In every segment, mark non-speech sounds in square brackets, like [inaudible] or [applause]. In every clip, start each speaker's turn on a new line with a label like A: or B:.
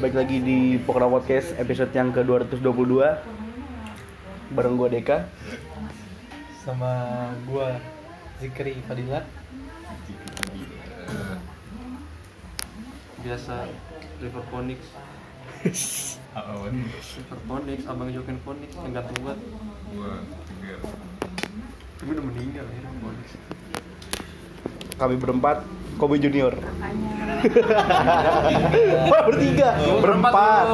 A: Baik lagi di Pokra Podcast episode yang ke-222 Bareng gue Deka
B: sama gua Zikri Fadilat
C: biasa
A: [laughs]
C: Liverphonics
D: Awan
C: Liverphonics abang Jokin Phonics yang ganteng banget
D: gua juga
C: tapi udah meninggal ya Liverphonics
A: Kami berempat, Kobe Junior Wah bertiga, berempat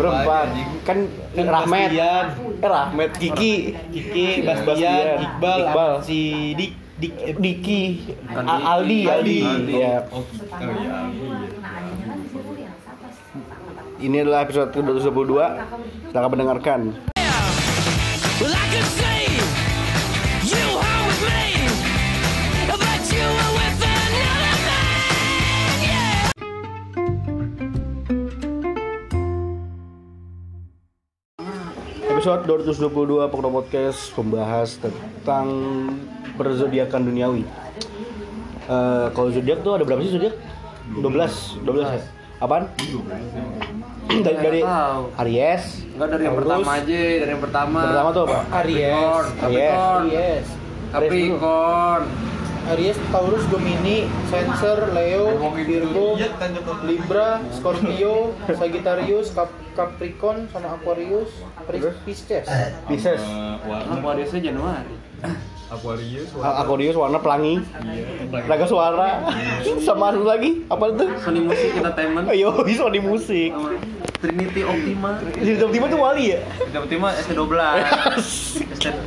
A: Berempat, kan
B: Dan
A: Rahmat
B: Bastian.
A: Eh Rahmat, Kiki
B: Kiki,
A: Bastian,
B: Bastian, Iqbal,
A: Iqbal.
B: sama si Dik, Dik, eh,
A: Diki,
C: Bukan
A: A- Aldi,
C: Diki.
A: Aldi,
C: Aldi.
A: Ya.
D: oh kita ya
A: Ini adalah episode ke-222 Silahkan mendengarkan
E: Well, I could see you home with me, but you were with another man. Yeah.
A: Episode 222 Pokra Podcast membahas tentang perzodiakan duniawi. Eh, kalau zodiak tuh ada berapa sih zodiak? 12, 12 ya. Apaan? dari dari
C: Iya, tahu.
A: Aries.
C: enggak dari yang
A: Taurus.
C: pertama aja dari yang pertama
A: Pertama tuh apa?
B: Aries,
A: Aries.
C: Capricorn
B: Aries,
C: Capricorn
B: Aries, Taurus, Gemini, Cancer, Leo, Virgo, Libra, Scorpio, Sagittarius, Cap- Capricorn, sama Aquarius, Pris- Pisces.
A: Pisces.
D: warna
C: aku Aries Januari
D: Aquarius
A: A- Aquarius warna pelangi, raga suara, sama satu lagi apa itu?
C: Sony Music Entertainment
A: Ayo, soal di musik.
C: sama Trinity Optima
A: Jadi tiba-tiba tuh wali ya?
C: Trinity Optima ST12
A: [laughs]
C: ST-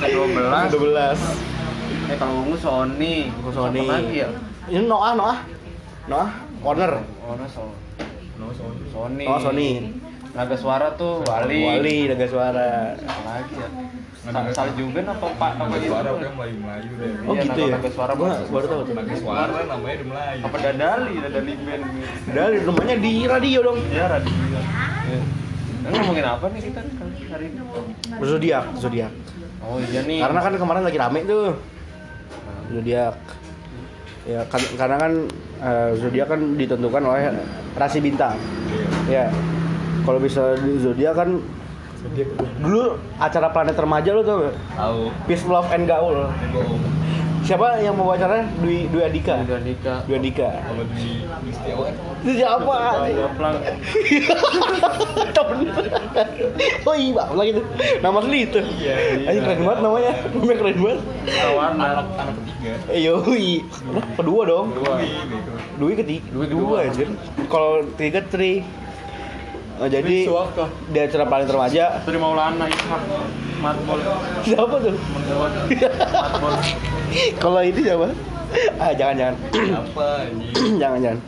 C: ST12
A: 12.
C: eh kalau nggak Sony
A: Sony.
C: Apa lagi ya
A: Ini Noah, Noah. Noah, Warner.
C: Oh, no, So- Sony.
A: Noah Sony.
C: Naga suara tuh Wali.
A: Wali, raga suara.
C: Apa lagi ya?
D: Naga-
C: Sal juga apa Pak apa gitu?
D: suara kan Melayu Melayu deh
A: Oh
C: Iya,
A: gitu ya?
C: naga-naga suara
A: Gua
C: bagus.
A: baru tahu tuh.
D: Naga suara namanya di Melayu
C: Apa Dadali, Dadali band.
A: Dari rumahnya di radio dong.
C: Ya radio. Nah, ngomongin apa nih kita hari ini?
A: Zodiak, zodiak.
C: Oh iya nih.
A: Karena kan kemarin lagi rame tuh. Zodiak. Ya kan- karena kan eh, zodiak kan ditentukan oleh rasi bintang. Ya. Kalau bisa di zodiak kan dulu acara planet remaja lo tuh
D: tahu
A: Peace Love and Gaul.
D: bohong
A: Siapa yang mau acaranya? Dwi Dwi Adika.
C: Udah nikah.
A: Dwi Adika.
D: kalau di Gusti Awan
A: Itu
D: [laughs]
A: siapa?
C: Banyak pelang.
A: Temen. Oh iya, Bang, lagi tuh. Nama asli itu.
D: Iya, iya.
A: Anjing keren banget namanya. Namanya keren banget.
C: Tawanan.
D: anak anak ketiga
A: Eh, yoi. Nah, kedua dong.
D: Dwi, gitu.
A: Dwi ketiga.
C: Dwi kedua.
A: kedua anjir. Kalau tiga tri. Oh, jadi di acara paling remaja
C: Dari Maulana Ishak Matbol.
A: [laughs] siapa tuh? [laughs]
C: Mendewan. Matbol.
A: Kalau ini siapa? Ah, jangan [clears throat] jangan.
D: apa ini
A: jangan jangan.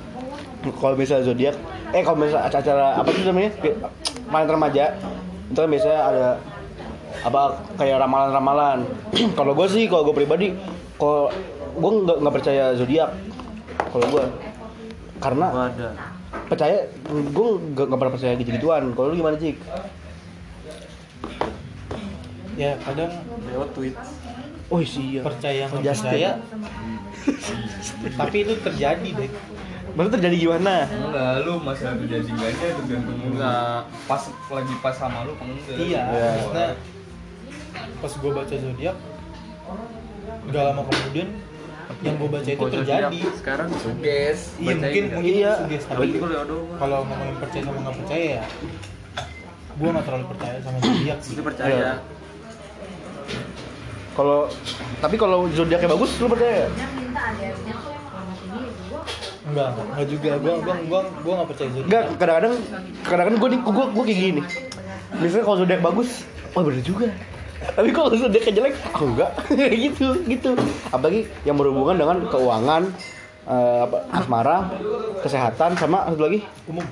A: Kalau misalnya zodiak, eh kalau misalnya acara apa sih namanya? Paling remaja itu kan biasanya ada apa kayak ramalan-ramalan. [clears throat] kalau gue sih, kalau gue pribadi, kalau gue nggak nggak percaya zodiak. Kalau gue, karena
C: Wadah.
A: percaya gue nggak nggak pernah percaya gitu gituan. Kalau lu gimana cik?
B: Ya, kadang
C: Leo tweet.
A: Oh iya.
B: percaya nggak
A: Justin.
B: percaya, tapi itu terjadi deh.
A: Maksudnya terjadi gimana?
D: enggak lu masalah terjadi enggaknya tergantung lu
C: Enggak.
D: pas lagi pas sama lu apa enggak
B: Iya,
A: Iya.
B: maksudnya pas gue baca zodiak, gak lama kemudian yang gue baca itu
A: Oh,
C: Bocah
B: terjadi.
C: siap. Sekarang
D: suges
B: Iya
C: Bacain
B: mungkin
C: nggak?
A: Iya.
B: mungkin itu sugesti, tapi
C: Berarti kalau Leo doang.
B: kalau ngomongin percaya sama nggak percaya ya, gue nggak terlalu percaya sama zodiak sih.
C: Itu
A: Iya.
C: percaya.
A: Kalau tapi kalau zodiaknya bagus, lu percaya? nggak?
B: Enggak, enggak juga. Gue gue gue gue nggak percaya zodiak.
A: Enggak, kadang-kadang kadang-kadang gue nih gue gue kayak gini. Misalnya kalau zodiak bagus, oh bener juga. Tapi kalau zodiaknya jelek, aku enggak. [laughs] gitu, gitu. Apalagi yang berhubungan dengan keuangan, eh, apa, asmara, kesehatan sama satu lagi
B: Umum.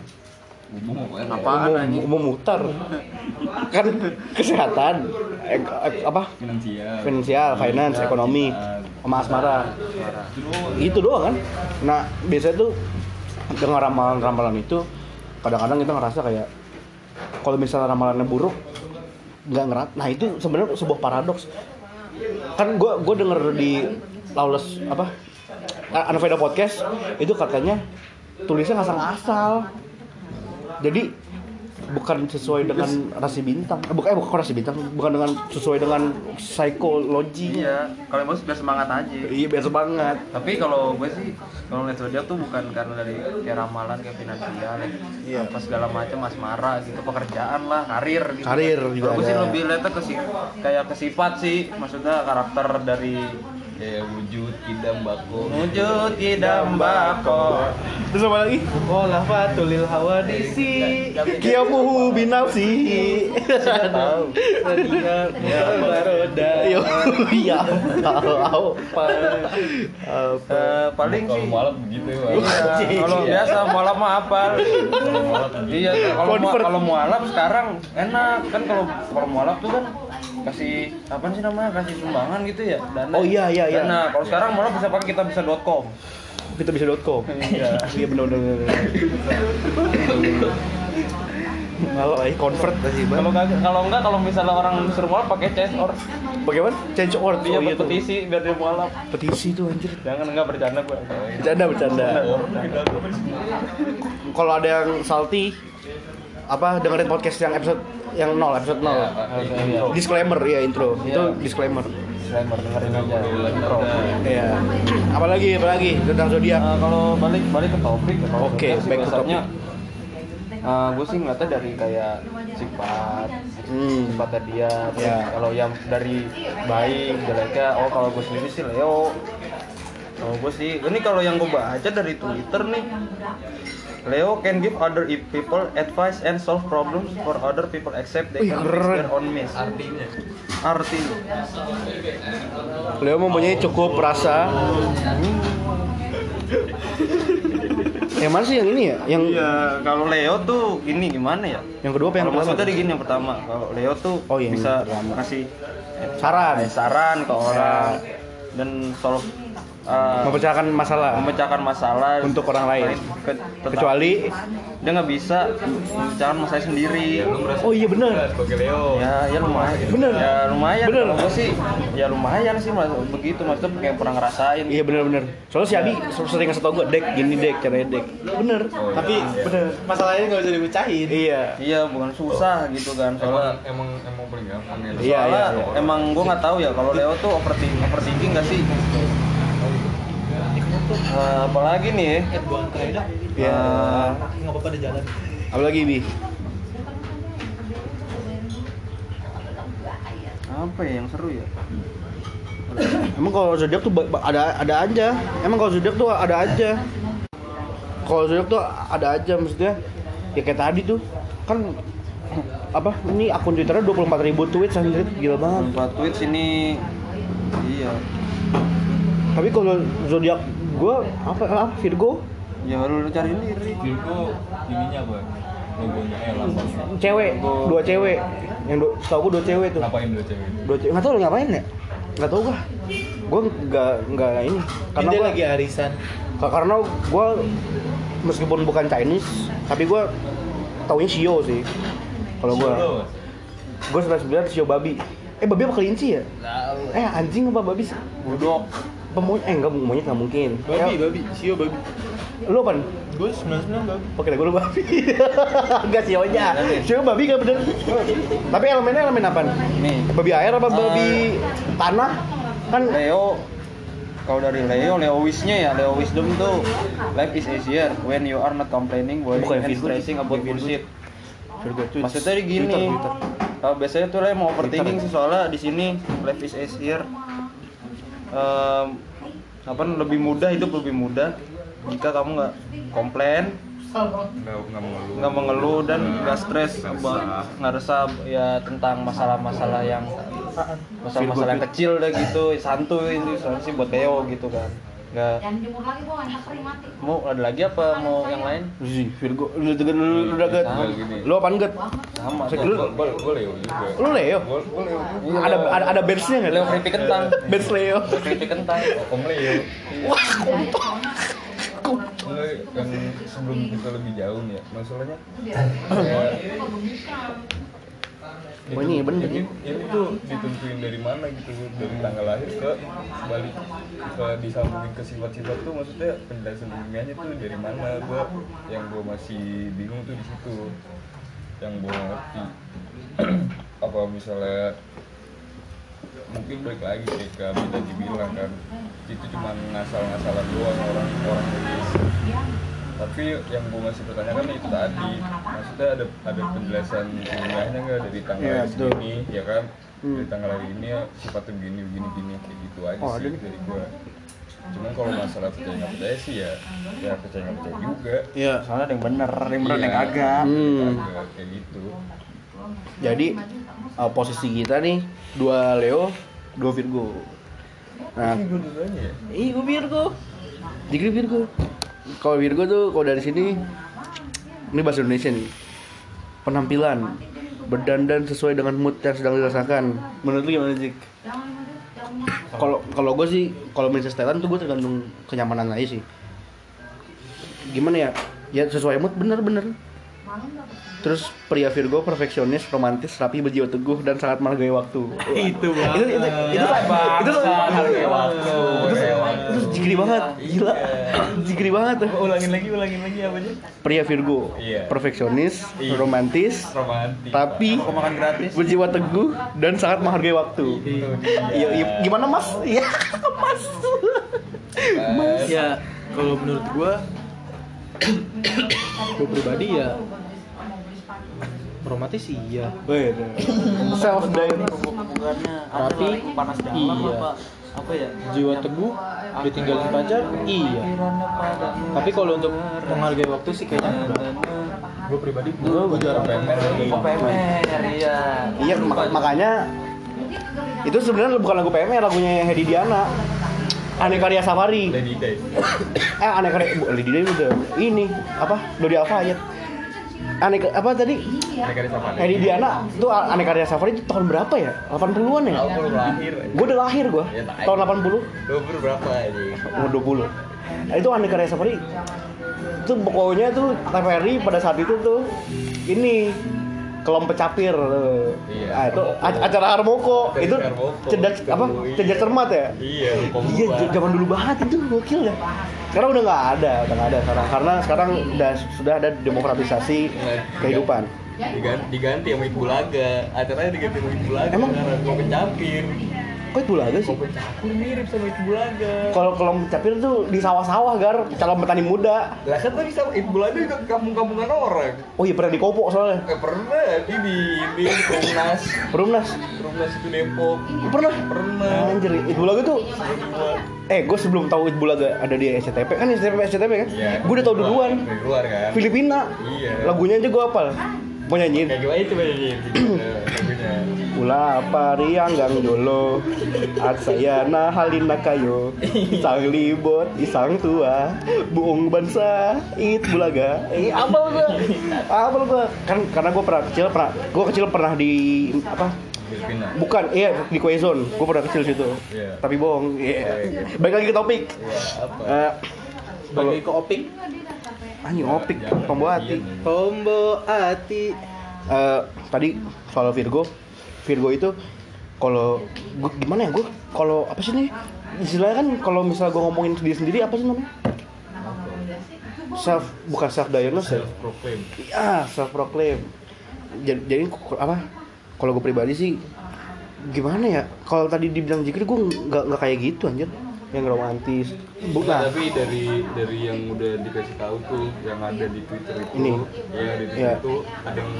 C: Apaan
A: umum,
C: anjing?
A: umum mutar. Kan kesehatan, eh, eh, apa?
D: finansial
A: Finansial, finance, ekonomi, sama asmara. itu doang kan nah biasanya tuh dengan ramalan-ramalan itu kadang-kadang kita ngerasa kayak kalau misalnya ramalannya buruk nggak ngerat nah itu sebenarnya sebuah paradoks kan gue gue denger di lawless apa Anveda podcast itu katanya tulisnya ngasal-ngasal Jadi bukan sesuai dengan rasi bintang. Eh, bukan eh, bukan rasi bintang, bukan dengan sesuai dengan psikologinya.
C: Iya, kalau yang bagus biar semangat aja.
A: Iya, biasa banget.
C: Tapi kalau gue sih kalau ngeliat zodiak tuh bukan karena dari kayak ramalan kayak finansial ya.
A: Iya.
C: Apa segala macam asmara gitu, pekerjaan lah, karir gitu.
A: Karir
C: Kalau
A: juga
C: Gue sih
A: ada.
C: lebih lihatnya ke si- kayak ke sifat sih, maksudnya karakter dari
D: ya wujud kidam bako
C: wujud idam bako.
A: Terus apa lagi?
B: Olah fatulil hawadisi
A: Kiyamuhu binafsihi.
B: Sadia
C: kan
B: Baroda
A: Yo, iya. Tahu. Apa?
C: Eh, paling
D: kalau
C: sih
D: malam begitu ya Bang.
C: Iya, kalau
A: Iya.
C: biasa mualaf mah apal. iya, kalau mua-
A: Convert.
C: kalau mualaf sekarang enak kan kalau kalau mualaf tuh kan kasih apa sih namanya kasih sumbangan gitu ya dana.
A: Oh, iya, iya, iya.
C: Dana. Kalau sekarang mualaf bisa pakai kita bisa.com.
A: Kita bisa .com.
C: Iya.
A: Iya benar benar. Kalau lagi convert tadi,
C: Kalau
A: Bang.
C: kagak- kalau enggak kalau misalnya orang suruh mualaf pakai CS or
A: Bagaimana? Change order oh, iya
C: dia
A: tuh.
C: berpetisi biar dia mualaf.
A: Petisi tuh anjir.
C: Jangan enggak bercanda gue.
A: Bercanda bercanda. Kalau ada yang salty apa dengerin podcast yang episode yang nol episode nol
C: Iya.
A: disclaimer ya intro itu disclaimer
C: Disclaimer dengerin aja. Intro.
A: ya apalagi apalagi tentang zodiak
C: Eh, kalau balik balik ke topik ya, kalau
A: Oke,
C: zodiak sih
A: back to
C: dasarnya, eh, gue sih ngeliatnya dari kayak sifat
A: Hmm.
C: sifatnya dia terus
A: Ya.
C: kalau yang dari baik jeleknya oh kalau gue sendiri sih Leo kalau gue sih ini kalau yang gue baca dari Twitter nih Leo can give other i- people advice and solve problems for other people except they
A: Wih,
C: can
A: keren.
C: fix their own mess.
D: artinya
C: Artinya.
A: Leo mempunyai cukup rasa.
C: Hmm.
A: yang mana sih yang ini ya? Yang
C: Iya, kalau Leo tuh gini gimana ya?
A: yang kedua apa yang
C: Kalau maksudnya
A: pertama?
C: tadi gini yang pertama, kalau Leo tuh
A: Oh, iya, yang
C: bisa
A: pertama.
C: ngasih
A: Saran,
C: saran ke orang
A: Ya.
C: dan solve uh,
A: memecahkan masalah
C: memecahkan masalah
A: untuk orang lain.
C: Ke- tetap-
A: Kecuali
C: dia nggak bisa memecahkan masalah
D: Ya,
C: sendiri.
A: Oh iya benar.
D: sebagai Leo
C: Ya, ya lumayan.
A: Bener.
C: Ya lumayan.
A: Bener.
C: Kalau gua sih, ya lumayan sih mas. Begitu maksudnya kayak pernah ngerasain.
A: Iya benar-benar. Soalnya si Adi sering ngasih tau gue, dek gini dek, caranya dek. Bener.
C: Oh,
B: Tapi bener Masalahnya nggak bisa dipecahin
A: Iya.
C: Iya, bukan susah gitu kan.
D: emang
C: Soalnya
D: emang emang paling gampang ya
A: Iya,
C: Soalnya
A: iya, iya.
C: emang gue nggak tahu ya kalau Leo tuh overthinking, overthinking gak sih? Eh, apalagi nih,
B: Eh, gua antar aja dah.
A: Iya.
C: Eh,
B: Nggak apa-apa di jalan
A: Apalagi bi?
C: apa ya yang seru ya?
A: Emang kalau zodiak tuh ba- ba- ada ada aja. Emang kalau zodiak tuh ada aja. Kalau zodiak tuh ada aja maksudnya. Ya kayak tadi tuh kan apa ini akun twitternya 24.000 ribu tweet anjir gila banget
C: Buat tweet sini, iya,
A: tapi kalau zodiak gua apa apa Virgo
C: ya baru lu cari ini. Ri.
D: Virgo ininya apa logonya eh lambangnya
A: cewek dua cewek yang do, setahu gua dua cewek tuh
D: ngapain dua cewek ini?
A: dua cewek nggak tahu lu ngapain ya nggak tahu gua gua nggak nggak ini
B: Ini
A: karena
B: dia
A: gua
B: lagi ya? arisan
A: Ka- karena gue meskipun bukan Chinese tapi gue taunya Shio sih kalau gue
D: Solo.
A: gue sebelas sebelas Shio babi eh babi apa kelinci ya eh anjing apa babi sih?
C: Budok, Ya.
A: Pemo- eh enggak monyet nggak mungkin
B: Babi,
A: eh,
B: babi, sio babi
A: lu apa
B: Gue 99 babi
A: oke gue lu babi [laughs] enggak Shio nya Shio babi nggak bener tapi elemennya elemen apa
C: nih.
A: babi air apa
C: Eh.
A: babi tanah kan
C: Leo, kalau dari Leo, Leo wish-nya ya, Leo wisdom tuh life is easier when you are not complaining, worrying
A: Bukan
C: and
A: Virgo,
C: stressing about bullshit. Maksudnya
A: tadi
C: gini, uh, biasanya tuh lah yang mau overthinking
A: Twitter.
C: sih soalnya di sini life is easier. Um, apa lebih mudah hidup lebih mudah jika kamu nggak komplain,
D: nggak nggak mengeluh
C: nggak mengeluh dan nggak stres about- nggak resah ya tentang masalah-masalah yang masalah-masalah yang kecil dah gitu santuy itu soalnya sih buat Leo gitu kan nggak
F: Jangan jemur lagi, gua nggak enak kering mati.
C: mau ada lagi apa mau yang lain
A: Ih, Virgo, lu udah lu udah get,
C: Iya,
D: Sama gini.
A: lu apaan get?
C: sama
A: Sek-
C: tuh.
A: lu-
D: gue gue Leo juga
A: Lu Leo?
D: gue gue Leo juga
A: Ada ada, ada bandsnya nggak?
C: Iya. Leo keripik kentang
A: Bands Leo.
C: Leo keripik kentang
D: Om Leo Mulai yang sebelum kita lebih jauh nih ya masalahnya kayak
A: Oh, ini bener
D: ini,
A: ya.
D: ini tuh ditentuin dari mana gitu dari tanggal lahir ke balik ke disambungin ke sifat-sifat tuh maksudnya penjelasan ilmiahnya tuh dari mana gua yang gua masih bingung tuh di situ yang gua ngerti [clears throat] apa misalnya mungkin balik lagi kayak ke Abi tadi bilang kan itu cuma ngasal-ngasalan doang orang orang nulis tapi yang gue masih pertanyakan itu tadi maksudnya ada ada penjelasan ilmiahnya nggak dari tanggal
A: Iya,
D: hari
A: betul.
D: ini ya kan
A: Hmm.
D: dari tanggal hari ini ya, sifatnya begini begini begini kayak gitu aja
A: Oh, ada
D: sih
A: nih.
D: dari gue cuman kalau masalah percaya nggak percaya sih ya ya percaya nggak percaya juga
A: Iya.
C: soalnya ada yang bener ada yang bener ada yang
D: Iya.
C: kagak
A: Hmm.
D: Agak kayak gitu
A: Jadi eh, posisi kita nih dua Leo, dua Virgo. Nah,
D: ini gue duluan ya
A: Ih, gue Virgo. Degree Virgo. Kalau Virgo tuh kalau dari sini ini bahasa Indonesia nih. Penampilan berdandan sesuai dengan mood yang sedang dirasakan. Menurut lu gimana, Jik? Kalau kalau gue sih kalau main setelan tuh gue tergantung kenyamanan aja sih. Gimana ya? Ya sesuai mood bener-bener. Terus pria Virgo perfeksionis, romantis, rapi, berjiwa teguh dan sangat menghargai waktu.
B: Itu banget.
A: itu itu itu itu
B: Iya.
A: itu
C: harga waktu
A: itu jigri banget gila [coughs] jigri banget tuh
D: Iya. Oh, ulangin lagi ulangin lagi apa aja
A: pria Virgo
D: Iya.
A: perfeksionis
D: Iya.
A: romantis
D: romantis
A: tapi
C: kok makan gratis
A: berjiwa teguh dan sangat menghargai waktu iya iya. gimana mas iya [laughs] mas
D: Mas.
B: Ya, kalau menurut gua gua pribadi ya romantis iya.
A: self diagnosis
C: bukannya
B: Tapi,
C: panas dalam
B: iya.
C: apa apa ya
B: Jiwa teguh ditinggalin pacar iya. Tapi kalau untuk menghargai waktu sih kayaknya enggak. Gua pribadi gua jarang
D: PMR lagi.
C: PMR iya
A: iya mak- makanya itu sebenarnya bukan lagu PMR lagunya yang Hedi Diana Aneh Karya Safari
D: Lady Day
A: eh aneh karya bu Lady Day udah ini apa Dodi Alfayet aneh ke- apa tadi
D: mereka di Safari
A: Hedi Diana itu A- aneh karya Safari itu tahun berapa ya 80-an ya
D: aku belum lahir
A: gue udah lahir gue
D: Ya, Oh, tai.
A: tahun 80
D: lu berapa ini
A: umur 20 nah, itu aneh karya Safari itu pokoknya tuh TVRI pada saat itu tuh ini kelompok capir tuh.
D: Iya.
A: Ah, itu ac- acara Harmoko
D: Acara
A: itu
D: Harmoko.
A: cerdas apa
D: Iya.
A: cerdas cermat ya
D: iya lupa
A: Iya, j- zaman dulu banget itu gokil ya. dah. Sekarang udah nggak ada, udah nggak ada sekarang. Karena sekarang udah sudah ada demokratisasi kehidupan.
D: diganti, diganti sama ibu laga acaranya diganti sama ibu laga
A: Emang?
D: karena mau pencampir
A: Kok itu laga sih?
D: mau pencampir mirip sama ibu laga
A: Kalau kalau capir tuh di sawah-sawah gar, calon petani muda.
D: lah kan tadi sama ibu laga juga ke kampung-kampungan orang
A: Oh iya pernah dikopok soalnya.
D: eh, pernah dia di ini di Perumnas
A: Perumnas.
D: Perumnas itu Depok
A: Pernah.
D: pernah
A: Anjir, Nah, itu laga tuh
D: Pernah.
A: eh gue sebelum tahu itu laga ada di SCTP kan SCTP SCTP kan?
D: Iya.
A: Gue udah tahu duluan.
D: Dari luar kan.
A: Filipina.
D: Iya.
A: Lagunya aja gue hafal. Mau nyanyiin.
D: Kayak gimana itu
A: [clears throat]
D: ini? Lagunya.
A: Ula parianggang dolo Atsayana halina kayo Sang libot isang tua Buung bansa it bulaga Eh apal gua Apal gua Kan karena gua pernah kecil pernah Gua kecil pernah di apa
D: Filipina.
A: Bukan, iya di Quezon Gua pernah kecil situ
D: Iya.
A: Tapi bohong
D: Iya.
A: Iya. Balik lagi ke topik
D: Iya, apa?
A: Eh,
B: Sebagai ke opik Iya,
A: Anjing opik pembawa hati
B: Tombo ati
A: Eh, tadi soal Virgo Virgo itu kalau gua- gimana ya gue kalau apa sih nih istilahnya kan kalau misalnya gue ngomongin diri sendiri apa sih namanya self bukan self diagnosis
D: Self proclaim.
A: ya self proclaim jadi, jadi ku- apa kalau gue pribadi sih gimana ya kalau tadi dibilang jikir gue nggak nggak kayak gitu anjir yang romantis Bu- nah,
D: Iya, tapi dari dari yang udah dikasih tahu tuh yang ada di Twitter itu.
A: Ini.
D: Iya, di
A: Iya.
D: Twitter itu ada yang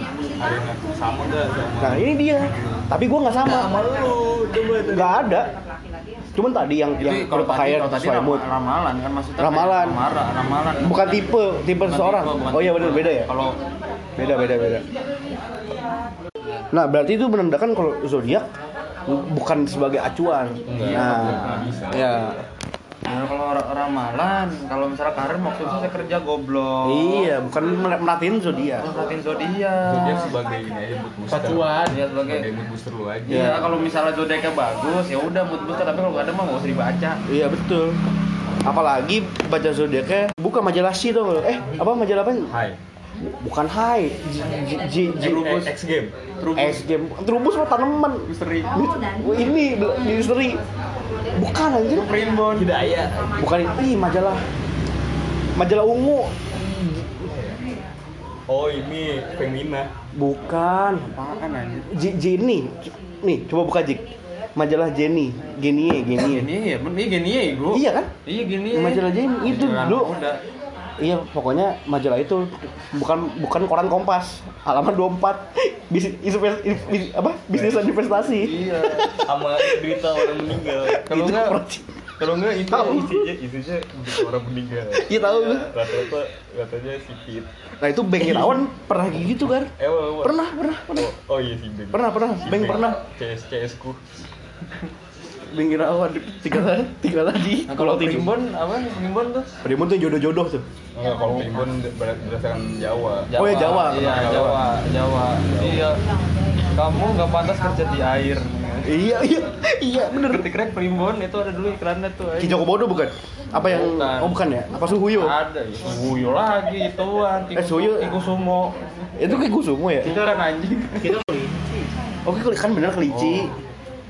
D: ada yang ngaku sama enggak sama
A: nah ini dia tapi gue nggak sama
D: sama lu coba itu.
A: nggak ada cuman tadi yang yang
C: Itu kalau tadi
A: berpakaian
C: kalau tadi
A: sesuai
C: ram-
A: mood
C: ramalan kan maksudnya kayak
A: Ramalan.
C: ramara- ramalan
A: bukan tipe tipe
C: Bukan
A: seseorang
C: tipe, bukan
A: oh iya
C: tipe.
A: benar beda ya
C: kalau
A: beda beda beda nah berarti itu menandakan kalau zodiak bukan sebagai acuan nah ya
C: Nah, kalau ra- ramalan, kalau misalnya Karen maksudnya saya kerja goblok.
A: iya bukan mer- merhatiin zodiak
C: Perhatiin zodiak.
D: Dia sebagai ini aja mood booster.
B: pacuan
C: Iya sebagai.
D: Sebagai mood booster lu aja.
C: Iya, kalau misalnya zodiaknya bagus ya udah mood booster, tapi kalau nggak ada mah nggak usah dibaca.
A: iya betul apalagi baca zodiaknya buka majalah sih dong eh apa majalah apa
D: Hai.
A: bukan high J J
D: Terubus X game.
A: es game terubus mah tanaman
D: Misteri.
A: Wih, ini bel- di misteri bukan anjir
D: Primbon. Hidayah.
A: bukan ini majalah majalah ungu
D: Oh ini Femina.
A: bukan
D: Apaan anjir?
A: J Jenny nih coba buka Jik majalah Jenny Genie Genie
C: Gini ya, ini gini ya bro.
A: iya kan
C: Iya gini.
A: majalah Jenny itu
C: Majalah
A: dulu
C: muda. Nah,
A: iya pokoknya majalah itu bukan bukan koran kompas halaman [laughs] 24 bisnis invest- bis- apa bisnis dan investasi
D: Iya. Sama berita orang meninggal.
C: Kalau
A: itu
C: enggak
A: koran-
D: Kalau enggak itu
A: Tahu.
D: isinya isinya orang meninggal.
A: Iya, tahu.
D: Rata-rata katanya si Pit.
A: nah itu Bang Irawan pernah kayak gitu kan
D: Eh, wah, wah.
A: pernah pernah pernah
D: Oh, oh iya si Beng.
A: Pernah, pernah.
D: Si
A: Beng pernah.
D: CS CS ku.
A: Bang Irawan tiga lagi tiga lagi
C: Nah,
A: kalau
C: kalau
A: tidur
C: primbon apa nih primbon tuh?
A: Primbon tuh jodoh-jodoh tuh
D: Enggak Oh, kalau Primbon ber- berdasarkan Jawa.
A: Oh, iya, Jawa.
C: Iya, Jawa, Jawa. Iya. Kamu nggak pantas kerja di air.
A: iya iya iya bener
C: Ketik rek primbon itu ada dulu iklannya tuh. eh.
A: Kijoko Bodo bukan apa yang
C: Bukan.
A: oh bukan ya apa Suhuyo
C: Ada ya. Suyo lagi ituan.
A: Eh, Suyo.
C: Iku sumo.
A: itu kayak Kusumo ya
C: Itu kan anjing.
A: Oke, keli- kan bener
C: Oh.
A: kelinci.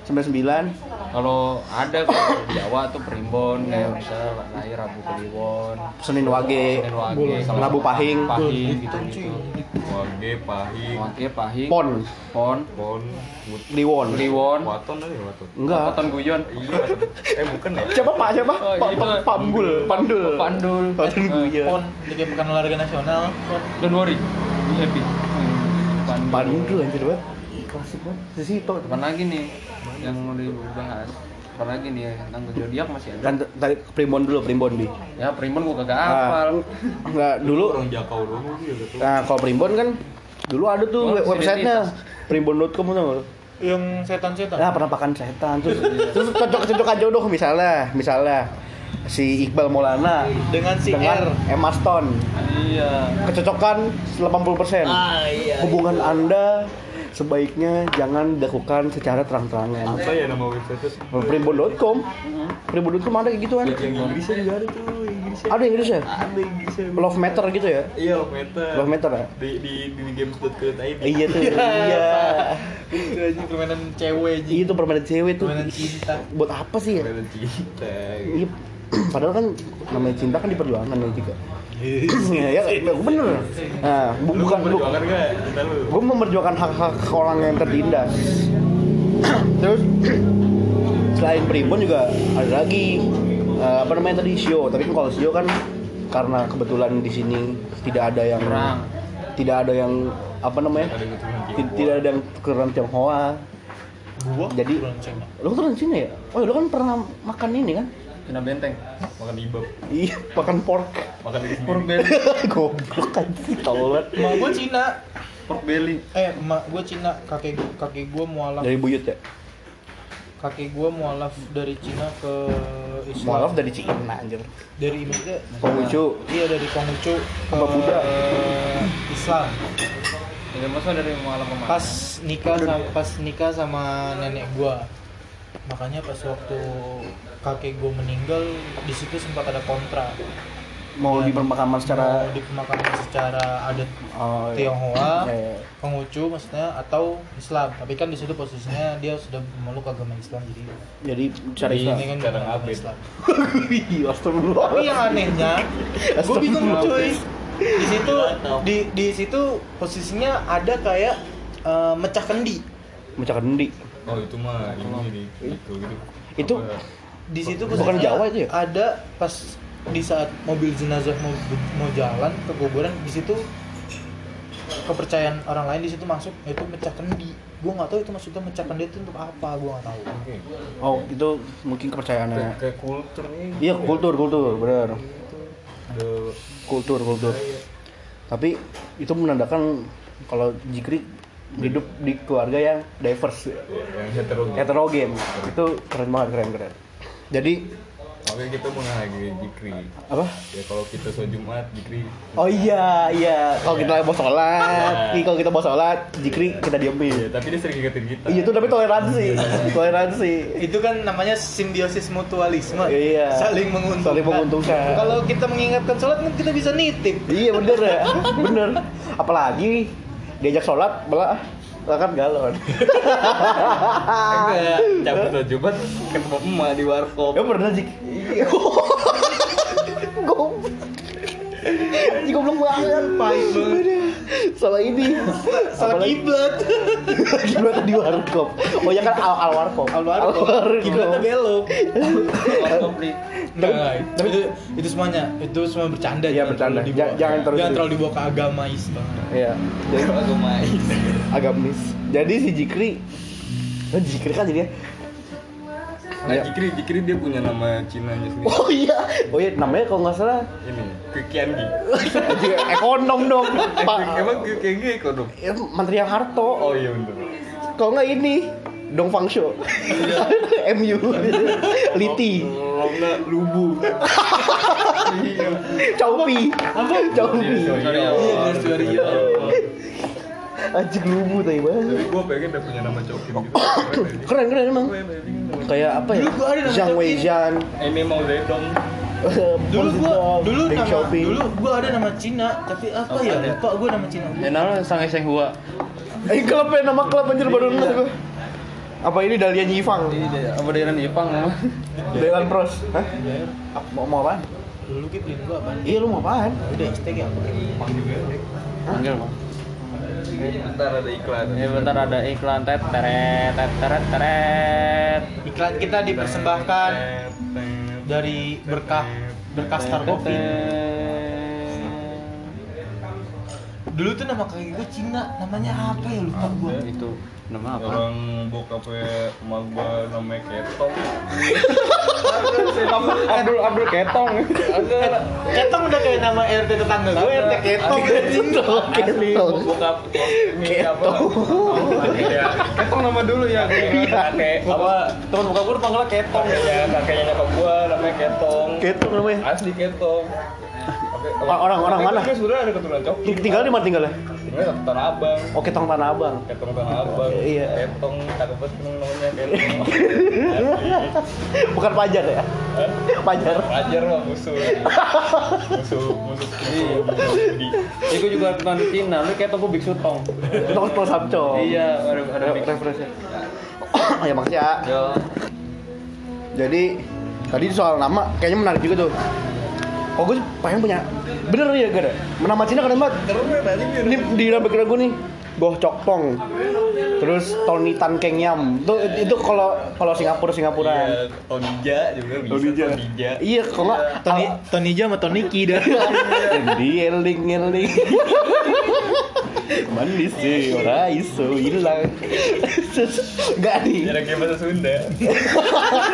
A: 99.
C: Kalau ada kalau di Jawa tuh primbon kayak bisa lahir Rabu Kliwon, Eh, Anu
A: Senin Wage.
C: Senin Wage, Selasa
A: Rabu Pahing.
C: Pahing gitu-gitu.
D: Wage, Pahing,
C: Wage Pahing,
A: Pon,
C: Pon,
D: Pon, Mut-
A: Kliwon.
C: Kliwon,
D: Waton ada ya Waton.
A: Enggak.
C: Waton Guyon.
A: [laughs]
D: Iya. Eh bukan ya?
A: Siapa Pak? Siapa?
C: Oh,
A: Pak
C: itu.
A: Pak Pambul, Pandul. Oh,
C: Pandul,
A: Pandul Guyon.
B: Pon Liga Pekan Olahraga Nasional. Iya. Pon.
C: Don't worry, be happy. Hmm,
A: Pandul anjir banget. Klasik banget. Sisi itu.
C: Kapan lagi nih yang mau dibahas? Kapan lagi nih ya? tentang zodiak masih ada?
A: Kan tadi primbon dulu, primbon bi.
C: Ya primbon gua kagak
A: Ah,
C: hafal.
A: enggak dulu.
D: Orang Jakau dong gitu. tuh.
A: Nah, kalau primbon kan dulu ada tuh
C: Oh,
A: web- websitenya primbon.com tuh nggak?
B: Yang setan-setan.
A: Nah, penampakan setan [laughs] terus terus cocok-cocokan jodoh misalnya, misalnya si Iqbal Maulana
B: Dengan si
A: dengan
B: R.
A: Emma Stone
C: Iya.
A: kecocokan 80%
B: iya.
A: hubungan anda sebaiknya jangan dilakukan secara terang-terangan
D: Apa ya nama website
A: primbon.com primbon.com ada kayak gitu kan
D: Yang Inggrisnya juga ada tuh, Inggrisnya.
A: ada Inggrisnya
D: Ada Inggrisnya.
A: love matter gitu ya
D: Iya, love meter.
A: love matter ya
D: Di di di games.co.id.
A: Eh, [laughs] iya tuh iya
B: [laughs] Itu aja permainan cewek aja.
A: itu permainan cewek tuh
B: Permainan cinta.
A: buat apa sih ya
D: Ada cinta.
A: Iya, padahal kan namanya cinta kan diperjuangkan ya juga ya, ya ya, bener nah, bu-
D: Lu
A: bukan bu,
D: perjuangan enggak? Kita lu.
A: gue memperjuangkan hak-hak orang yang tertindas [clears throat] terus [clears throat] selain primbon juga ada lagi eh, apa namanya tadi sio tapi kan kalau sio kan karena kebetulan di sini tidak ada yang
C: Kurang.
A: tidak ada yang apa namanya
D: Ada keturunan
A: Ti-
D: Tionghoa.
A: tidak ada yang keturunan Tionghoa
B: Gua
A: Jadi-
B: kurang cemak.
A: lo keturunan Cina ya oh ya, lo kan pernah makan ini kan
C: Cina benteng.
D: Makan ibab,
A: iya [laughs] makan pork
D: makan diri sendiri.
C: Pork belly.
A: [laughs] goblok kan sih tolol
B: Emak gua Cina.
C: Pork belly.
B: Eh, emak gua Cina, kakek kakek gua mualaf.
A: dari buyut ya
B: Kakek gua mualaf dari Cina ke Islam.
A: mualaf dari Cina anjir
B: Dari maksudnya
A: Oh, Konghucu
B: Iya dari Konghucu ke eh,
A: Sama Buddha.
B: Islam.
C: Jadi maksudnya dari malam kemarin.
B: Pas nikah sama, pas nikah sama nenek gua. Makanya pas waktu kakek gua meninggal di situ sempat ada kontra. Iya.
A: mau dipermakaman secara
B: Mau di pemakaman secara adat
A: Oh, iya.
B: Tionghoa,
A: Iya, iya.
B: Konghucu maksudnya atau Islam. Tapi kan di situ posisinya dia sudah memeluk agama Islam jadi
A: jadi secara
D: Iya.
A: Islam
B: ini Oh, kan
D: Cara
B: agama
D: ngabit.
B: Islam.
A: Wih,
B: Tapi
A: Iya, astagfirullah.
B: yang anehnya, gue bingung cuy. Di situ di di situ posisinya ada kayak eh, mecah kendi.
A: Mecah kendi.
D: Oh itu mah ini nih, itu gitu.
A: Itu
D: Apa?
B: Di situ
A: Bukan
B: posisinya
A: Jawa itu ya?
B: Ada pas di saat mobil jenazah mau mau jalan ke kuburan di situ kepercayaan orang lain di situ masuk itu mecah kendi. Gue nggak tahu itu maksudnya mecah kendi itu untuk apa? Gue nggak tahu.
A: Oh, itu mungkin kepercayaannya.
D: ya? Kayak- kayak kultur nih.
A: Iya, kultur, kultur, benar.
D: The-
A: Kultur, kultur. Tapi itu menandakan kalau Jikri hidup di keluarga yang diverse,
D: yang gitu. heterogen.
A: heterogen. Itu keren banget, keren, keren. Jadi
D: makanya kita menghargai zikri
A: Apa?
D: ya kalau kita sholat Jumat zikri
A: Oh iya, iya. Kalau kita mau
B: Iya.
A: sholat, nih kalau kita mau sholat, jikri kita
D: ya
A: diemin.
D: tapi dia sering ingetin kita
A: Iya itu tapi toleransi,
B: Iya.
A: toleransi.
B: Itu kan namanya simbiosis mutualisme.
A: Iya.
B: Saling menguntungkan.
A: Saling menguntungkan.
B: Kalau kita mengingatkan sholat kan kita bisa nitip.
A: Iya bener ya, bener. Apalagi diajak sholat malah malah kan galon.
D: enggak cabut sholat Jumat ketemu
B: Iya.
D: emak di warkop
A: Ya pernah jik. Goblok. Ih, Goblok banget.
B: Pahit banget.
A: Aduh, Salah ini.
B: Salah
A: Apalagi-
B: kiblat.
A: Kiblat di warkop. Oh ya kan al al warkop. Al
B: Kiblatnya belok.
C: Laptop di
B: Nah, tapi itu, itu semuanya, itu semua bercanda.
A: Iya, bercanda.
B: terlalu dibawa-
A: Ja- jangan terlalu
B: jangan
A: di-
B: terlalu dibawa ke agama Islam.
A: Iya. Jadi-
C: agama
A: agamis. Jadi si Jikri Oh, Jikri kan jadi ya.
D: nah zikri zikri dia punya nama Cina nya sendiri
A: Oh iya. Oh iya namanya kalau nggak salah
D: ini
B: [laughs]
D: Kikiangi
A: Anjing, ekonom dong. Pak.
D: Eh, emang Kikiangi kodok
A: Ya, Menteri yang Harto.
D: oh iya bener
A: Kalau nggak ini Dong Fangsho.
B: Iya.
A: MU. Liti.
D: kalau enggak lubu iya
A: Caupi. Caupi.
D: sorry ya
B: Iya, dari Suwario.
A: Anjing lubu tadi banget.
D: tapi gue pengen dia punya nama cokin
B: [laughs]
D: gitu
A: Keren keren emang. Kayak apa ya?
B: Dulu gua ada namanya
A: Zhang
B: Caupi.
A: Weizhan. eh,
D: ini mau zedong
B: Dulu gua, dulu
A: Deng
B: nama,
A: Xiaoping.
B: dulu gua ada nama Cina, tapi apa ya? Lupa gua nama Cina.
C: Kenal sang eseng hua.
A: Eh klub ya nama klub anjir baru ngeliat gua. Apa ini Dalian Yifang?
C: Iya, Apa daerah Jepang nama?
A: Dewan Pros. Hah? Ap- Mau mau apaan?
B: Dulu kiblin gua apaan?
A: Iya lu mau apaan?
B: Udah hashtag ya.
C: Panggil bang.
D: bentar ada iklan
A: Iya.
C: Ini Iya, bentar ada iklan tet teret tet teret teret.
B: Iklan kita dipersembahkan dari berkah berkah Star Coffee. Dulu tuh nama kakek gua Cina, namanya apa ya lupa gua.
C: Itu nama apa?
D: orang bokapnya emak gue namanya ketong
C: Abdul Abdul [laughs] Ketong.
B: Ketong udah kayak nama RT tetangga gua, RT Ketong.
A: Asli.
D: bokap ketong ketong nama dulu ya gue
A: Iya.
D: ingat. kakek apa
C: Teman buka gue panggilnya Ketong.
D: kakeknya kakeknya nyokap gue namanya ketong
A: Ketung Gitu namanya.
D: asli ketong Kakek-
A: Orang- orang- orang
D: kakek
A: mana?
D: gue sebenarnya ada keturunan coki
A: Tinggal di mana tinggalnya?
D: tinggal satu tanah abang
A: Oh Ketong Tanah Abang.
D: ketong tanah abang
A: Iya.
D: ketong cakep banget ketong namanya ketong
A: [laughs] Bukan Pajar ya? [laughs] Pajar.
D: wajar lah musuh musuh musuh musuh Budi.
C: Ini gue juga tentang Cina. Lu Ketong gue Biksu Tong.
A: Ketong Pro Samco.
C: Iya ada ada
A: Re-
C: mix.
A: referensi. [coughs] ya maksudnya.
C: Yo.
A: Jadi tadi soal nama kayaknya menarik juga tuh. Kok gue pengen punya bener ya gara nama Cina keren banget. Ini di dalam pikiran gue nih Goh Chok Tong terus Tony Tan Keng Yam itu itu kalau kalau Singapura Singapuran
D: Iya, Tonija juga bisa
A: Tonija.
D: Tonija.
A: iya kalau nggak
B: Tony Tonija sama Toniki dah.
A: Jadi eling eling [laughs] manis sih orang iso hilang [laughs] nggak
D: Iya,
A: [laughs] nih
D: ada kayak bahasa Sunda.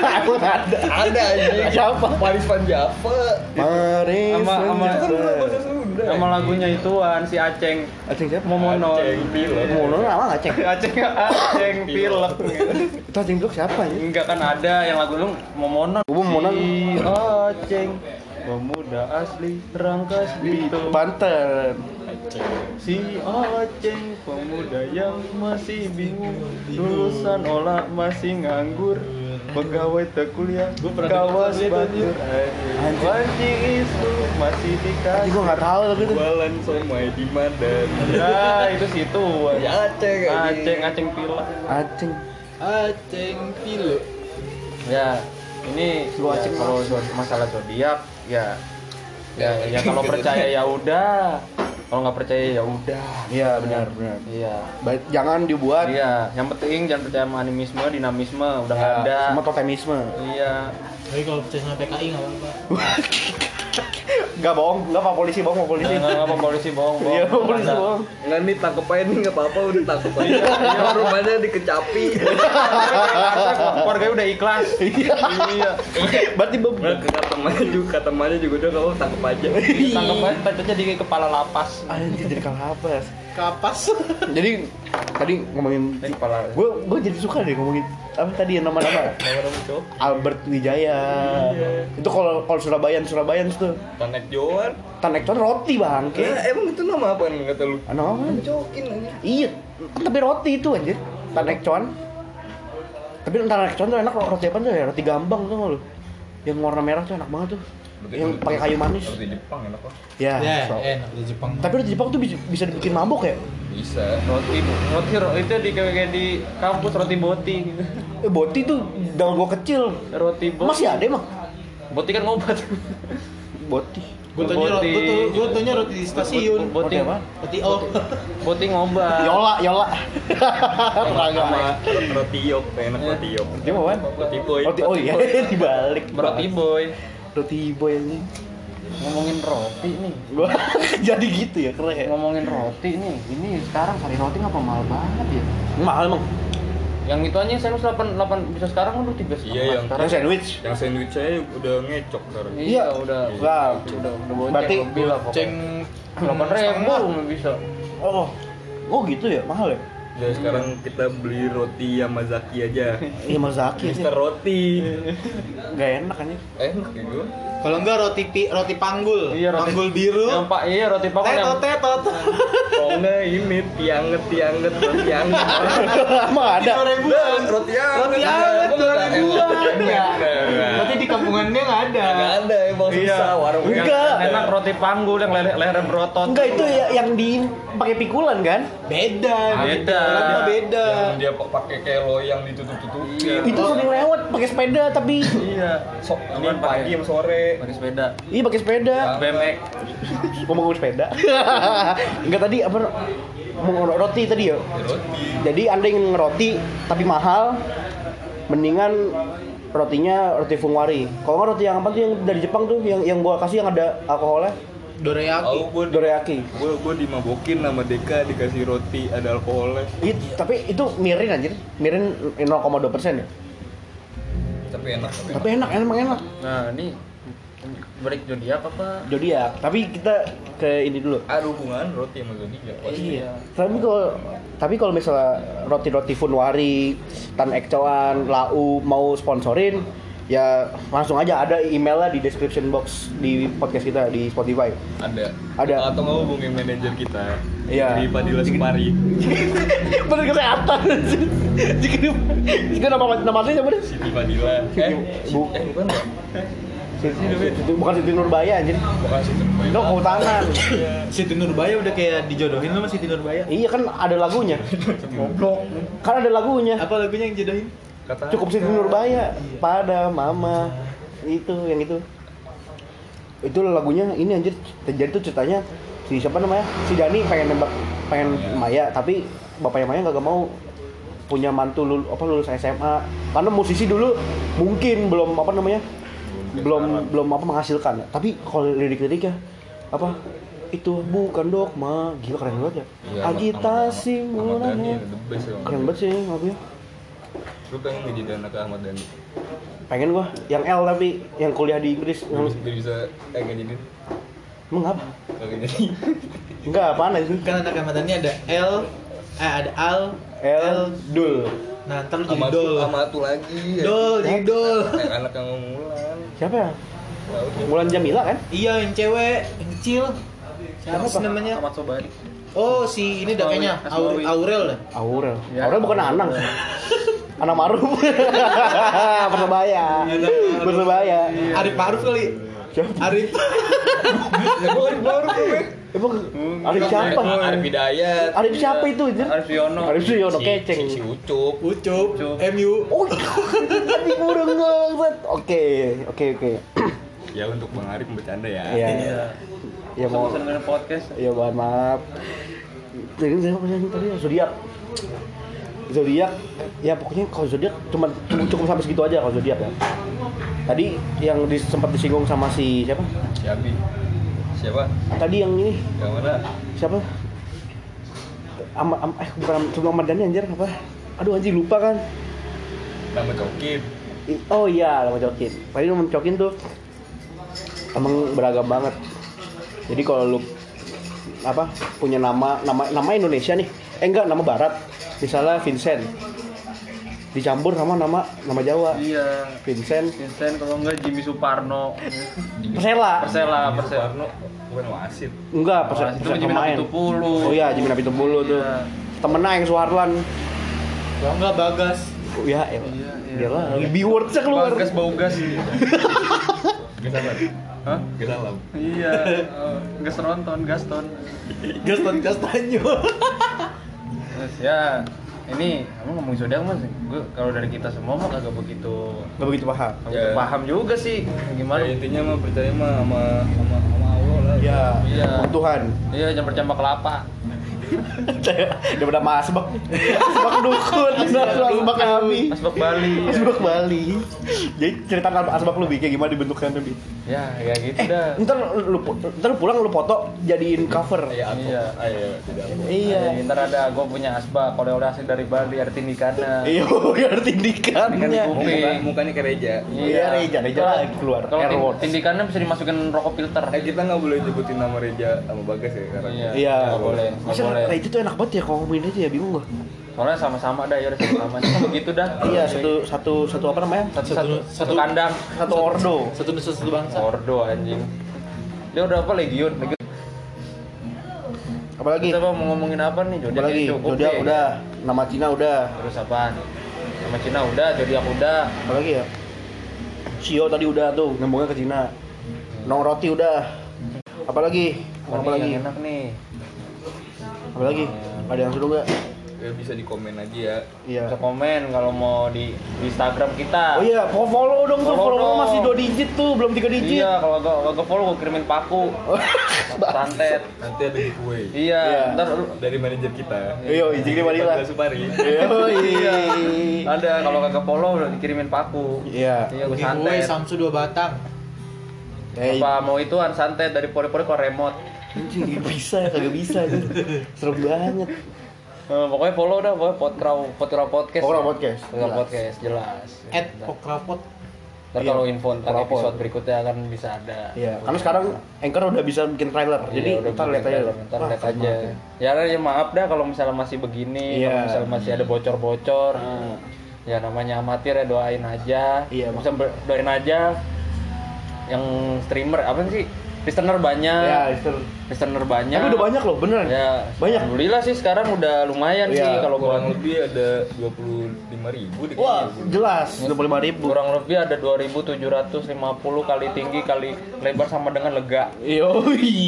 A: emang ada
D: Ada aja.
A: siapa
D: Paris Van Java.
A: Mari
C: Sama- sama-
A: senja.
D: Sunda.
C: Nama lagunya ituan si Aceng.
A: Aceng eh, siapa?
C: Momonon.
D: Aceng Pilek.
A: Mono nama nggak ceng?
C: Aceng Aceng Pilek. [laughs]
A: Itu Aceng Blok siapa ya?
C: Enggak kan ada yang lagu lu Momonon.
A: Gua Momonon.
C: Si Aceng pemuda asli Rangkas Bitung.
A: Banten.
C: Si Aceng pemuda yang masih bingung lulusan olah masih nganggur pegawai terkuliah kawas banjir anjing isu masih
A: Ini [laughs]
C: dikasih
A: gue nggak tahu tapi itu.
D: Jualan somai di Medan.
C: ya itu situ
B: Ya,
A: Ya,
D: Aceh.
B: Ah, gitu.
C: Aceng Aceng Pilek
A: Aceng.
B: Aceng Pilo.
C: ya ini
A: Gua
C: ya,
A: cek
C: kalau zo- masalah zodiak ya ya, ya kalau percaya ya udah kalau nggak percaya ya udah
A: Iya benar benar.
C: iya
A: Baik, jangan dibuat
C: iya yang penting jangan percaya sama animisme dinamisme udah nggak ada
A: Iya, Semua totemisme.
C: iya
B: Tapi kalau percaya sama PKI nggak apa-apa.
A: Gak bohong, gak apa polisi bohong mau polisi.
C: nggak nggak apa polisi bohong
A: [laughs]
C: bohong
A: Iya mau polisi
C: Nggak ada.
A: bohong.
D: Nggak nih tangkep aja nih nggak apa-apa udah tangkep aja. Iya, rumahnya dikecapi.
C: Karena keluarganya udah ikhlas
A: Iya. Berarti be-
C: Nggak, kata temannya juga, kata temannya juga udah kamu tangkap aja.
B: Tangkap aja, tadinya jadi kepala lapas.
A: Anjir jadi kalapas.
B: Kapas.
A: [laughs] Jadi tadi ngomongin
C: Ini kepala.
A: gue gue jadi suka deh ngomongin apa tadi yang nama-nama
D: Nama-nama cowok.
A: Albert Wijaya. Itu kalau kalau Surabayan Surabayan tuh
D: Tanek Joan.
A: Tanekton roti bangke.
D: Ya, emang itu nama apa yang kata lu?
A: Anak apaan?
D: Cokin aja.
A: Iya, tapi roti itu anjir. Tanekcon. Tapi tanekcon tuh enak roti apa tuh ya? Roti gambang tuh lu. Yang warna merah tuh enak banget tuh. Yang pakai kayu manis.
D: Roti Jepang enak kok.
A: Ya.
B: Ya,
A: so.
B: enak di Jepang.
A: Tapi roti Jepang tuh bisa, bisa dibikin mabok ya?
D: Bisa.
C: Roti, roti, roti itu di kayak di kampus roti boti. gitu.
A: Eh, boti tuh dalam gua kecil.
C: Roti boti.
A: Masih ada emang?
C: Boti kan ngobat.
A: Boti.
B: Gue tanya
C: Roti.
B: gue tuh gue tanya roti di stasiun.
C: Bo- bo-
A: Roti
C: Boti.
A: apa?
B: Roti O.
C: Boti ngobat.
A: Yola, yola. [laughs]
D: Sama
A: Perangga.
D: roti yok, enak roti yok.
A: Dia mau apaan?
D: Roti boy.
A: Roti, oh iya, [laughs] dibalik.
C: Berarti boy.
A: Roti boy ini.
C: Ngomongin roti nih.
A: Gua [laughs] jadi gitu ya, keren ya.
C: Ngomongin roti nih. Ini sekarang cari roti ngapa mahal banget ya?
A: Mahal emang.
C: Yang itu aja sandwich 8 8 bisa sekarang udah 3
D: Iya, yang-
A: Yang sandwich.
D: Yang sandwich saya udah ngecok sekarang.
C: Iya,
A: Iya.
C: udah.
A: Wah.
C: Udah, udah bonceng
A: Berarti
C: lebih lah
B: Ceng.
C: pokoknya. 8 ribu nggak bisa.
A: Oh, oh gitu ya, mahal ya?
D: Ya sekarang kita beli roti Yamazaki [laughs] aja.
A: Iya Mazaki
D: Mister
A: aja.
D: Roti.
A: Gak enak anjir.
D: Enak gitu.
B: Kalau enggak roti pi, roti panggul.
C: Iya, roti-
B: panggul biru.
C: Yang Pak, iya roti Pak yang
B: Tetot tetot.
D: Oh enggak ini tianget tianget roti anget.
A: [laughs] Emang ada.
B: Dua ribuan.
D: Roti anget.
B: Roti anget dua ribuan ya.
D: Enggak.
B: Berarti di kampungan dia nggak ada.
D: Enggak ada Iya. emang susah warung.
A: Enggak.
C: enak roti panggul yang leher leher berotot.
A: Enggak itu ya, yang di pakai pikulan kan?
B: Beda.
C: Beda.
B: Kalau beda.
D: Yang dia pakai kayak loyang ditutup-tutupin.
A: Itu sering lewat pakai sepeda tapi
C: Iya.
D: Sok Iya. ini pagi sama sore.
C: Pakai sepeda.
A: iya pakai sepeda.
C: Bemek.
A: Mau ngomong sepeda. [laughs] Enggak tadi apa mau ngorok roti tadi ya.
D: Roti.
A: Jadi Anda ingin ngeroti tapi mahal mendingan rotinya roti fungwari. Kalau nggak roti yang apa tuh yang dari Jepang tuh yang yang gua kasih yang ada alkoholnya?
B: Dorayaki.
D: Aku gue
A: Dorayaki.
D: gue gue dimabokin sama Deka dikasih roti ada alkoholnya
A: It, tapi itu mirin anjir. Mirin 0,2 ya.
D: tapi enak tapi
A: Tapi enak, enak, enak.
C: Nah, ini break zodiak apa?
A: Zodiak. ya, Tapi kita ke ini dulu.
D: ada hubungan roti sama zodiak pasti
A: Iya. Tapi kalau tapi kalau misalnya roti-roti Funwari, Tan Ekcoan, Lau mau sponsorin, ya langsung aja ada emailnya di description box di podcast kita di Spotify.
D: ada
A: Ada.
D: atau nggak hubungi manajer kita
A: Iya.
D: di Padilla Supari
A: [laughs] Bener kesehatan. Jika jika nama nama aslinya siapa deh?
D: Siti Padilla eh
A: Siti- Bu-
D: eh bukan ya
A: Siti- Bukan Siti Nurbaya anjir.
D: bukan Siti
A: Itu kehutanan.
B: Siti Nurbaya udah kayak dijodohin sama Siti Nurbaya.
A: Iya kan ada lagunya.
D: goblok
A: Kan ada lagunya.
B: Apa lagunya yang jodohin?
D: kata
A: cukup Siti Nurbaya pada mama itu yang itu itu lagunya ini anjir terjadi tuh ceritanya si siapa namanya si Dani pengen nembak pengen
D: Iya.
A: Maya tapi bapaknya Maya nggak mau punya mantu lul, apa lulus SMA karena musisi dulu mungkin belum apa namanya belum belum apa menghasilkan tapi kalau lirik-liriknya apa itu bukan dogma gila keren banget ya,
D: Iya, sama-
A: agitasi
D: sama- sama Dani,
A: mulanya
D: the best ya, Om.
A: keren banget sih lagunya
D: lu pengen nggak jadi anak Ahmad Dhani
A: pengen gua yang L tapi yang kuliah di Inggris yang
D: Lu bisa- dia bisa eh nggak jadi
A: emang apa
D: nggak jadi
A: enggak apaan sih
B: Kan anak Ahmad Dhani ada L, eh ada Al,
A: L Dul
B: Nah, ntar lu jadi
D: sama tuh
B: dol.
D: sama tuh lagi ya.
B: Dol, jadi dol.
D: Eh, anak yang ngulan
A: siapa ya
D: Tahu dia.
A: Mulan Jamila kan
B: Iya, yang cewek, yang kecil. Siapa sih
A: Iya.
B: namanya?
C: Ahmad Sobari.
B: Oh, si ini dah kayaknya Aur-
C: Asmawi.
B: Aurel dah.
A: Aurel
C: Ya.
A: Aurel bukan Anang Anang Maruf [laughs] Persebaya
B: Anang Maruf. Iya.
A: Persebaya
B: Arif Maruf kali.
A: siapa
B: Arif.
D: ya gue baru tuh
A: emang Arif siapa
D: Arif Hidayat
A: Arif siapa itu anjir?
C: Arif Yono.
A: Iya. Arif Suyono
D: Si-
A: keceng
D: si, si Ucup
B: Ucup,
C: Ucup.
B: MU.
A: [laughs] oh tadi gua udah ngeliat oke oke oke [clears throat]
D: ya untuk Bang Arif bercanda ya
A: Iya. ya mau
C: Sama dengan podcast.
A: Ya mohon maaf. Jadi saya apa sih tadi zodiak. Zodiak ya pokoknya kalau zodiak cuma cukup, cukup sampai segitu aja kalau zodiak ya. Tadi yang di, sempat disinggung sama si siapa?
D: si Abi siapa
A: Tadi yang ini
D: yang mana
A: siapa? Ama, am- eh bukan sebelum Ahmad Dhani anjir apa? Aduh anjing lupa kan.
D: nama Cokin
A: oh iya lama cokin tadi lu mencokin tuh emang beragam banget jadi kalau lu apa punya nama nama nama Indonesia nih eh enggak nama Barat misalnya Vincent dicampur sama nama nama Jawa
C: Iya.
A: Vincent
C: Vincent kalau enggak Jimmy Suparno,
A: Persela
C: Persela, Persela.
D: Soekarno bukan wasit
A: enggak Persela
C: Wah, Oh, itu
A: Persela
C: Jimmy
A: pemain.
C: Napitupulu.
A: oh iya Jimmy Napitupulu tuh
C: Iya. Ya,
A: temennya yang Suharlan
B: Kalau nggak bagas.
A: oh, iya elah. dia lah lebih words keluar
C: Bagas Baugas.
D: gak salah
C: Hah?
D: gak salah
C: Iya. eh, Gesronton, Gaston.
B: Gaston Castanyo.
C: Terus ya ini kamu ngomong Zodiac mas, gue kalau dari kita semua mah kagak begitu
A: nggak begitu paham
C: kagak
D: Ya.
C: paham juga sih
D: ya,
C: gimana.
D: intinya mah percaya mah sama sama sama Allah lah
A: ya
C: Iya.
A: oh,
C: [laughs]
A: Tuhan
C: Iya jangan percaya sama kelapa.
A: daripada mas asbak asbak dukun asbak nabi
C: Asbak Bali.
A: asbak Bali jadi cerita asbak lu Bi, kayak gimana dibentuknya tuh Bi?
C: Ya kayak gitu
A: eh
C: dah.
A: ntar lu ntar lu pulang lu foto jadiin cover
D: ya atau
C: Iya.
D: ayo tidak apa
A: iya
C: Jadi, ntar ada gue punya asbak kalau udah asli dari Bali ada tindikana.
A: iya [laughs] ya tindikannya
C: Tindikan
D: muka mukanya kayak reja
A: iya reja reja lagi keluar
C: Kalau tin-
A: airword
C: tindikannya bisa dimasukin rokok filter.
D: eh kita nggak boleh nyebutin nama reja sama bagas ya karena
C: Iya.
A: Iya.
C: Nggak boleh. Nggak
A: Masa
C: boleh.
A: reja tuh enak banget ya kalau ngomongin itu ya bingung gua
C: Soalnya sama-sama dah ya udah sama-sama.
A: [coughs]
C: Cuma begitu dah.
A: iya satu satu satu apa namanya
C: satu satu,
B: Satu-
C: satu
B: satu-
C: kandang.
A: satu ordo
B: Satu nusa satu bangsa.
C: Ordo anjing. Dia udah apa legion? legion.
A: apalagi
C: Kita mau ngomongin apa nih? Zodiac
A: apalagi
C: ya, cukup
A: udah
C: ya.
A: udah nama Cina udah
C: Terus apa? Sama Cina udah, Zodiac udah.
A: apalagi ya Sio tadi udah tuh nyambungnya ke Cina Nong Roti udah apalagi
C: Wah,
A: apa
C: nih,
A: lagi
C: yang enak nih.
A: apalagi ada yang seru nggak
D: ya bisa di komen aja ya
A: iya
C: Bisa komen kalau mau di, di Instagram
A: oh
C: kita.
A: iya follow, follow dong tuh
C: Follow
A: follow,
C: dong.
A: masih dua digit tuh belum tiga digit
C: Iya, kalau gak, gak follow gue kirimin paku. Santet.
D: nanti ada giveaway
C: Iya,
A: Oh, Iya.
C: ntar lu-
D: dari manajer kita
A: Iya, izin di Manila.
D: 14 Supari
A: iya
C: ada kalau kagak follow udah dikirimin paku.
A: iya
C: Iya, gue
B: Giveaway
C: santet.
B: Samsu dua batang.
A: eh
C: Apa mau ituan santet dari pori-pori ke remote.
A: anjing nggak bisa kagak bisa tuh. serem banget
C: Eh, pokoknya follow dah, pokoknya potkraw, potkraw podcast.
A: Pokoknya podcast,
C: Potkraw
A: jelas. oh,
C: podcast jelas.
B: At Pokrapot.
C: Ntar
A: Iya.
C: kalau info tentang
A: Pokrapot.
C: episode berikutnya akan bisa ada.
A: iya karena sekarang Anchor udah bisa bikin trailer
C: Iya,
A: jadi
C: udah
A: ntar
C: bikin
A: lihat aja
C: trailer,
A: loh
C: Ntar
A: Wah,
C: lihat
A: keren
C: aja.
A: banget ya.
C: Ya, ya maaf dah kalau misalnya masih begini,
A: Iya. Hmm.
C: kalau misalnya masih ada bocor-bocor. Ya namanya amatir ya doain aja.
A: Iya,
C: bisa ber- doain aja yang streamer apa sih? Listener banyak.
A: ya Esther
C: Listener banyak.
A: tapi udah banyak loh beneran
C: Ya,
A: banyak
C: Alhamdulillah sih sekarang udah lumayan
A: Iya,
C: sih kalau buat
D: kurang lebih ada 25 ribu di
A: wah jelas
C: Iya.
A: dua puluh
C: kurang lebih ada 2750 kali tinggi kali lebar sama dengan lega.
A: Yoi.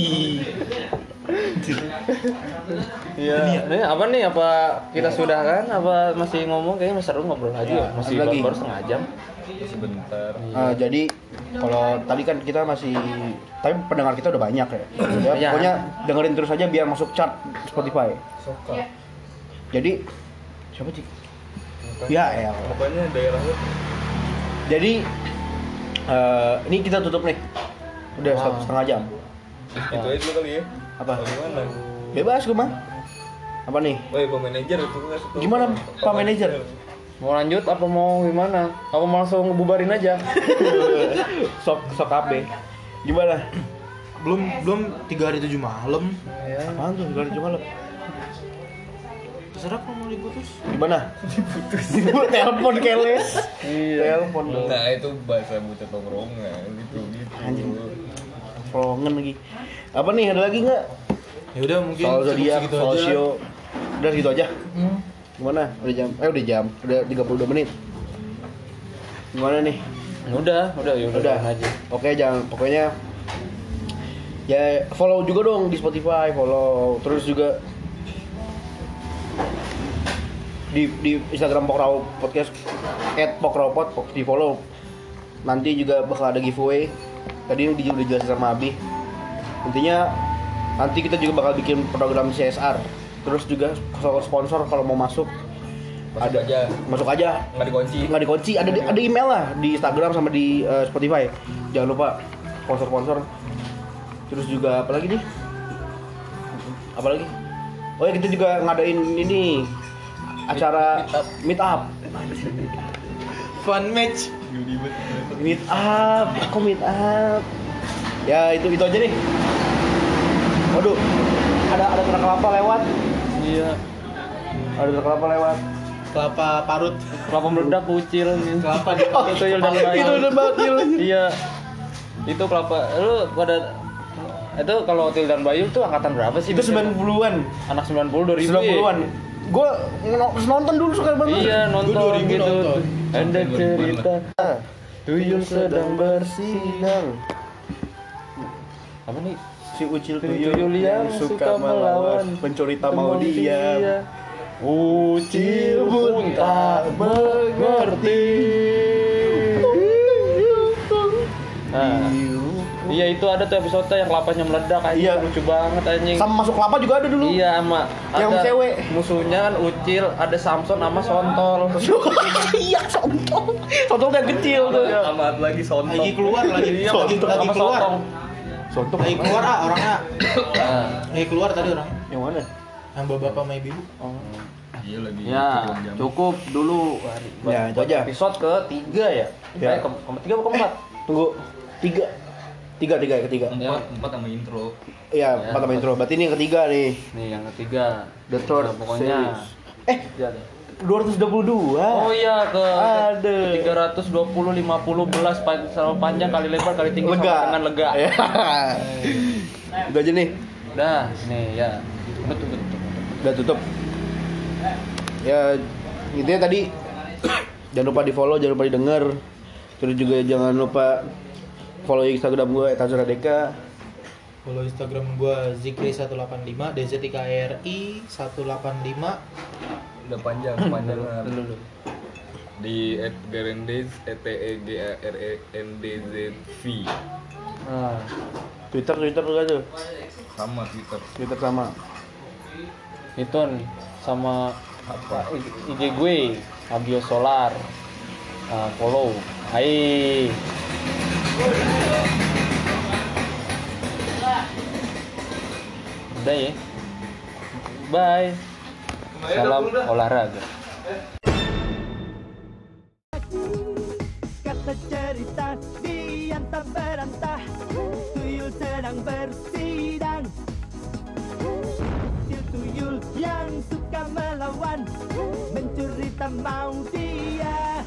C: Iya. Ini apa nih apa kita sudah kan apa masih ngomong kayaknya masih seru ngobrol aja ya.
A: Iya,
C: Masih
A: ada lagi.
C: baru, baru setengah jam.
D: sebentar
A: Ah, jadi kalau tadi kan kita masih tapi pendengar kita udah banyak ya. Ya,
C: Iya.
A: Pokoknya dengerin terus aja biar masuk chart Spotify.
D: sokak
A: Jadi siapa sih? Ya, ya.
D: pokoknya daerah lu
A: Jadi eh, ini kita tutup nih. Udah satu setengah jam.
D: itu aja dulu kali ya
A: Apa?
D: Apa gimana
A: Bebas gue mah. Apa nih?
D: Woi, Pak Manajer itu nggak suka.
A: Gimana Pak Manajer? [laughs]
C: Mau lanjut apa mau gimana? Apa mau langsung ngebubarin
A: [laughs]
C: aja?
A: sok sok abe. Gimana?
B: Belum belum tiga hari tujuh malam.
A: Apaan tuh? Gimana cuma lo?
B: Terserah kalau mau diputus.
A: Gimana? Diputus. Telepon keles.
C: Iya.
A: Telepon dong.
D: Nah, itu bahasa buta tongkrongan gitu gitu.
A: Anjing. Flongen lagi. Apa nih ada lagi nggak?
B: Ya udah mungkin
A: Soal
B: cukup
A: zodiak,
B: segitu
A: soal
B: aja. Hmm.
A: sio. Udah segitu aja. Gimana? Udah jam? Eh udah jam. Udah 32 menit. Gimana nih?
C: Udah, udah ya
D: Iya,
C: udah,
A: Udah.
C: aja.
A: Oke, jangan pokoknya ya follow juga dong di Spotify, follow terus juga di di Instagram Pokraw Podcast @pokrawpod di follow. Nanti juga bakal ada giveaway. Tadi ini udah jelasin sama Abi. Intinya nanti kita juga bakal bikin program CSR. Terus juga sponsor kalau mau masuk
D: Masuk aja.
A: masuk aja
D: Enggak dikunci.
A: nggak dikunci ada di- ada email lah di Instagram sama di eh, Spotify jangan lupa sponsor-sponsor terus juga apa lagi nih apa lagi oh ya kita juga ngadain ini acara meet up
B: Fun match.
D: Guilty banget ternyata.
A: Meet up, aku meet up. Ya itu itu aja nih. Waduh, ada ada truk kelapa lewat.
B: Iya.
A: Ada truk kelapa lewat.
B: Kelapa parut. Kelapa meledak kucil. Kelapa di
A: itu yang udah itu udah bakil.
C: iya itu kelapa lu pada itu kalau Otil dan Bayu tuh angkatan berapa sih?
A: Itu 90-an,
C: anak 90 2000.
A: 90-an. Gue nonton dulu suka banget.
C: Iya, nonton
B: Gua 2000
C: gitu.
B: nonton.
C: Anda
D: Sampai 2000-an
C: cerita tuyul sedang bersidang. Apa nih?
A: Si Ucil
C: Tuyul yang suka melawan Iya.
A: pencerita
C: Teman
A: ya.
C: Ucil pun tak mengerti. Nah, iya itu ada tuh episode yang kelapanya meledak aja
A: Iya.
C: lucu banget anjing.
A: Sama masuk kelapa juga ada dulu.
C: Iya sama
A: Yang
C: ada
A: cewek.
C: Musuhnya kan Ucil, ada Samson sama Sontol.
A: [laughs] Iya, sontol. Sontol yang kecil tuh.
D: Amat lagi sontong.
B: Lagi keluar lagi
A: Iya,
B: dia lagi,
A: Sontong
B: lagi
C: Iya. Sama
B: keluar.
C: Sontong.
A: Sontol
B: Lagi keluar ah orangnya.
C: Nah,
B: Lagi keluar tadi orang.
A: yang mana?
B: Yang bapak sama ibu.
D: Iya lagi.
C: Ya, cukup dulu.
A: Ya, itu aja.
C: Episode ketiga ya.
A: Ya.
C: Eh, ke, ke- ketiga apa keempat?
A: Tunggu. Tiga. Tiga, tiga, ketiga.
C: Ya.
D: Empat, empat sama intro.
A: Iya, empat sama intro. Berarti ini yang ketiga nih.
C: Nih yang ketiga.
A: The third
C: Nah, pokoknya.
A: series. Eh,
C: Ya, deh.
A: 222.
C: Oh iya ke
A: Ada.
C: 320 50 belas pan- sama panjang kali lebar kali tinggi
A: Lega.
C: sama dengan
A: [laughs]
C: lega.
A: Ya. Udah aja nih.
C: Dah, nih ya. Betul betul.
A: Udah tutup. Ya, intinya tadi [coughs] jangan lupa di follow, jangan lupa didengar. Terus juga jangan lupa follow Instagram gue @tazuradeka.
B: Follow Instagram gua Zikri 185 DZTKRI 185
D: Udah panjang,
C: [laughs]
D: panjang.
B: Dulu, dulu.
D: Di at Garendez, E T E G A R E N D Z V.
C: Nah,
A: Twitter, Twitter juga tuh.
D: Sama Twitter.
A: Twitter sama.
C: itu nih, sama
D: Apa?
C: IG gue Agio Solar. Nah, follow. Hai. Udah ya. Bye. Salam olahraga.
G: kata cerita diantar berantah tuyul sedang bersidang Ucil tuyul yang suka melawan mencuri tak mau dia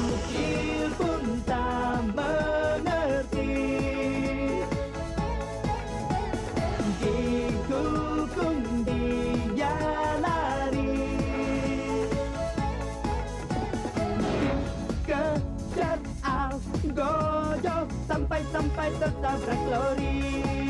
G: Ucil pun tak mengerti Dikukung dia lari kejar al gojo sampai sampai tertabrak lori.